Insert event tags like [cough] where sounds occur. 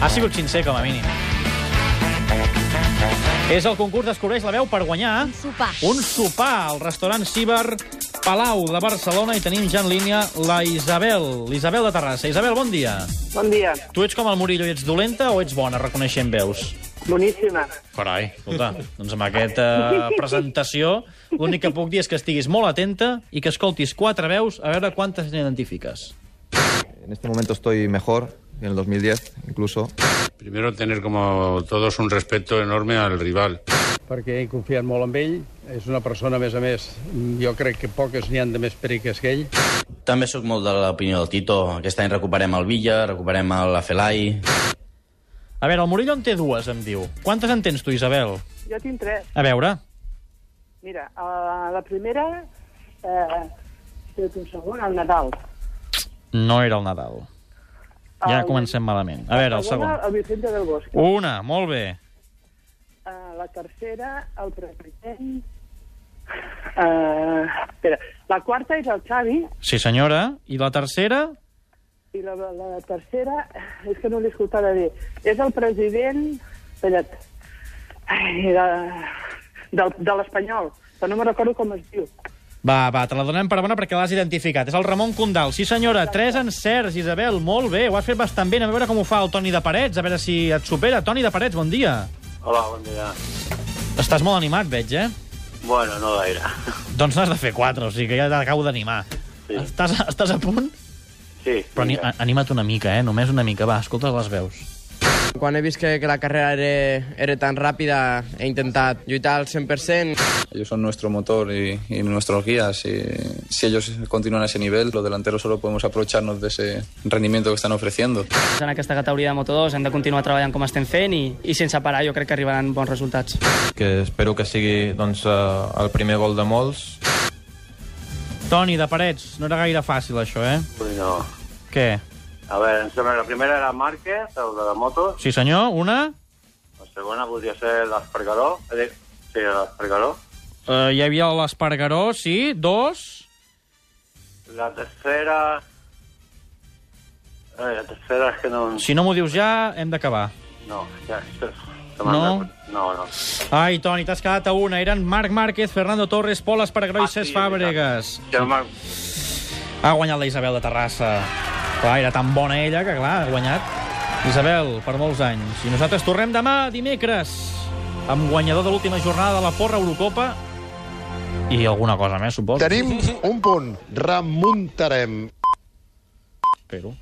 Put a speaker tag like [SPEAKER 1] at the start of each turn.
[SPEAKER 1] Ha sigut sincer, com a mínim. És el concurs Descobreix la veu per guanyar...
[SPEAKER 2] Un sopar.
[SPEAKER 1] Un sopar al restaurant Ciber Palau de Barcelona i tenim ja en línia la Isabel, l'Isabel de Terrassa. Isabel, bon dia.
[SPEAKER 3] Bon dia.
[SPEAKER 1] Tu ets com el Murillo i ets dolenta o ets bona reconeixent veus?
[SPEAKER 3] Boníssima.
[SPEAKER 1] Carai, escolta, doncs amb aquesta presentació l'únic que puc dir és que estiguis molt atenta i que escoltis quatre veus a veure quantes n'identifiques.
[SPEAKER 4] En este momento estoy mejor que en el 2010, incluso.
[SPEAKER 5] Primero tener como todos un respeto enorme al rival.
[SPEAKER 6] perquè he confiat molt en ell. És una persona, a més a més, jo crec que poques n'hi han de més periques que ell.
[SPEAKER 7] També sóc molt de l'opinió del Tito. Aquest any recuperem el Villa, recuperem la Felai.
[SPEAKER 1] A veure, el Murillo en té dues, em diu. Quantes en tens tu, Isabel?
[SPEAKER 3] Jo tinc tres.
[SPEAKER 1] A veure.
[SPEAKER 3] Mira, a la primera... Eh, espera't un segon, el Nadal.
[SPEAKER 1] No era el Nadal. Ja comencem malament. A veure, el segon.
[SPEAKER 3] El Vicente del Bosque.
[SPEAKER 1] Una, molt bé.
[SPEAKER 3] A la tercera, el president... Uh, espera, la quarta és el Xavi
[SPEAKER 1] Sí, senyora. I la tercera?
[SPEAKER 3] i la, la tercera, és que no l'he escoltada bé, és el president... Espera't. Ai, de, de, de l'Espanyol, però no me recordo com es diu.
[SPEAKER 1] Va, va, te la donem per bona perquè l'has identificat. És el Ramon Condal. Sí, senyora, tres encerts, Isabel, molt bé. Ho has fet bastant bé. Anem a veure com ho fa el Toni de Parets, a veure si et supera. Toni de Parets, bon dia.
[SPEAKER 8] Hola, bon dia.
[SPEAKER 1] Estàs molt animat, veig, eh?
[SPEAKER 8] Bueno, no gaire.
[SPEAKER 1] [laughs] Doncs n'has de fer quatre, o sigui que ja t'acabo d'animar.
[SPEAKER 8] Sí.
[SPEAKER 1] Estàs, estàs a punt?
[SPEAKER 8] Sí.
[SPEAKER 1] Però ani, a- anima't una mica, eh? Només una mica. Va, escolta les veus.
[SPEAKER 9] Quan he vist que, que la carrera era, era tan ràpida, he intentat lluitar al 100%.
[SPEAKER 10] Ellos son nuestro motor y, y nuestros guías. Y si ellos continúan a ese nivel, los delanteros solo podemos aprovecharnos de ese rendimiento que están ofreciendo.
[SPEAKER 11] En aquesta categoria de Moto2 hem de continuar treballant com estem fent i, i sense parar jo crec que arribaran bons resultats.
[SPEAKER 4] Que espero que sigui doncs, eh, el primer gol de molts.
[SPEAKER 1] Toni, de Parets, no era gaire fàcil, això, eh?
[SPEAKER 8] Ui, Pues no.
[SPEAKER 1] Què?
[SPEAKER 8] A veure, em sembla que la primera era Márquez, el de la moto.
[SPEAKER 1] Sí, senyor, una...
[SPEAKER 8] La segona podria ser l'Espargaró. Eh, dic- Sí, l'Espargaró.
[SPEAKER 1] Uh, hi havia l'Espargaró, sí, dos...
[SPEAKER 8] La tercera... Eh, la tercera és que no...
[SPEAKER 1] Si no m'ho dius ja, hem d'acabar.
[SPEAKER 8] No, ja... se- se
[SPEAKER 1] No?
[SPEAKER 8] m'ha- No, no.
[SPEAKER 1] Ai, Toni, t'has quedat a una. Eren Marc Márquez, Fernando Torres, Pol Espargaró
[SPEAKER 8] Ah,
[SPEAKER 1] i Cesc
[SPEAKER 8] sí,
[SPEAKER 1] Fàbregas.
[SPEAKER 8] Ja m'ha-
[SPEAKER 1] Ha guanyat la Isabel de Terrassa. Clar, era tan bona ella que, clar, ha guanyat. Isabel, per molts anys. I nosaltres tornem demà, dimecres, amb guanyador de l'última jornada de la Porra Eurocopa i alguna cosa més, suposo.
[SPEAKER 12] Tenim un punt. Remuntarem.
[SPEAKER 1] Espero.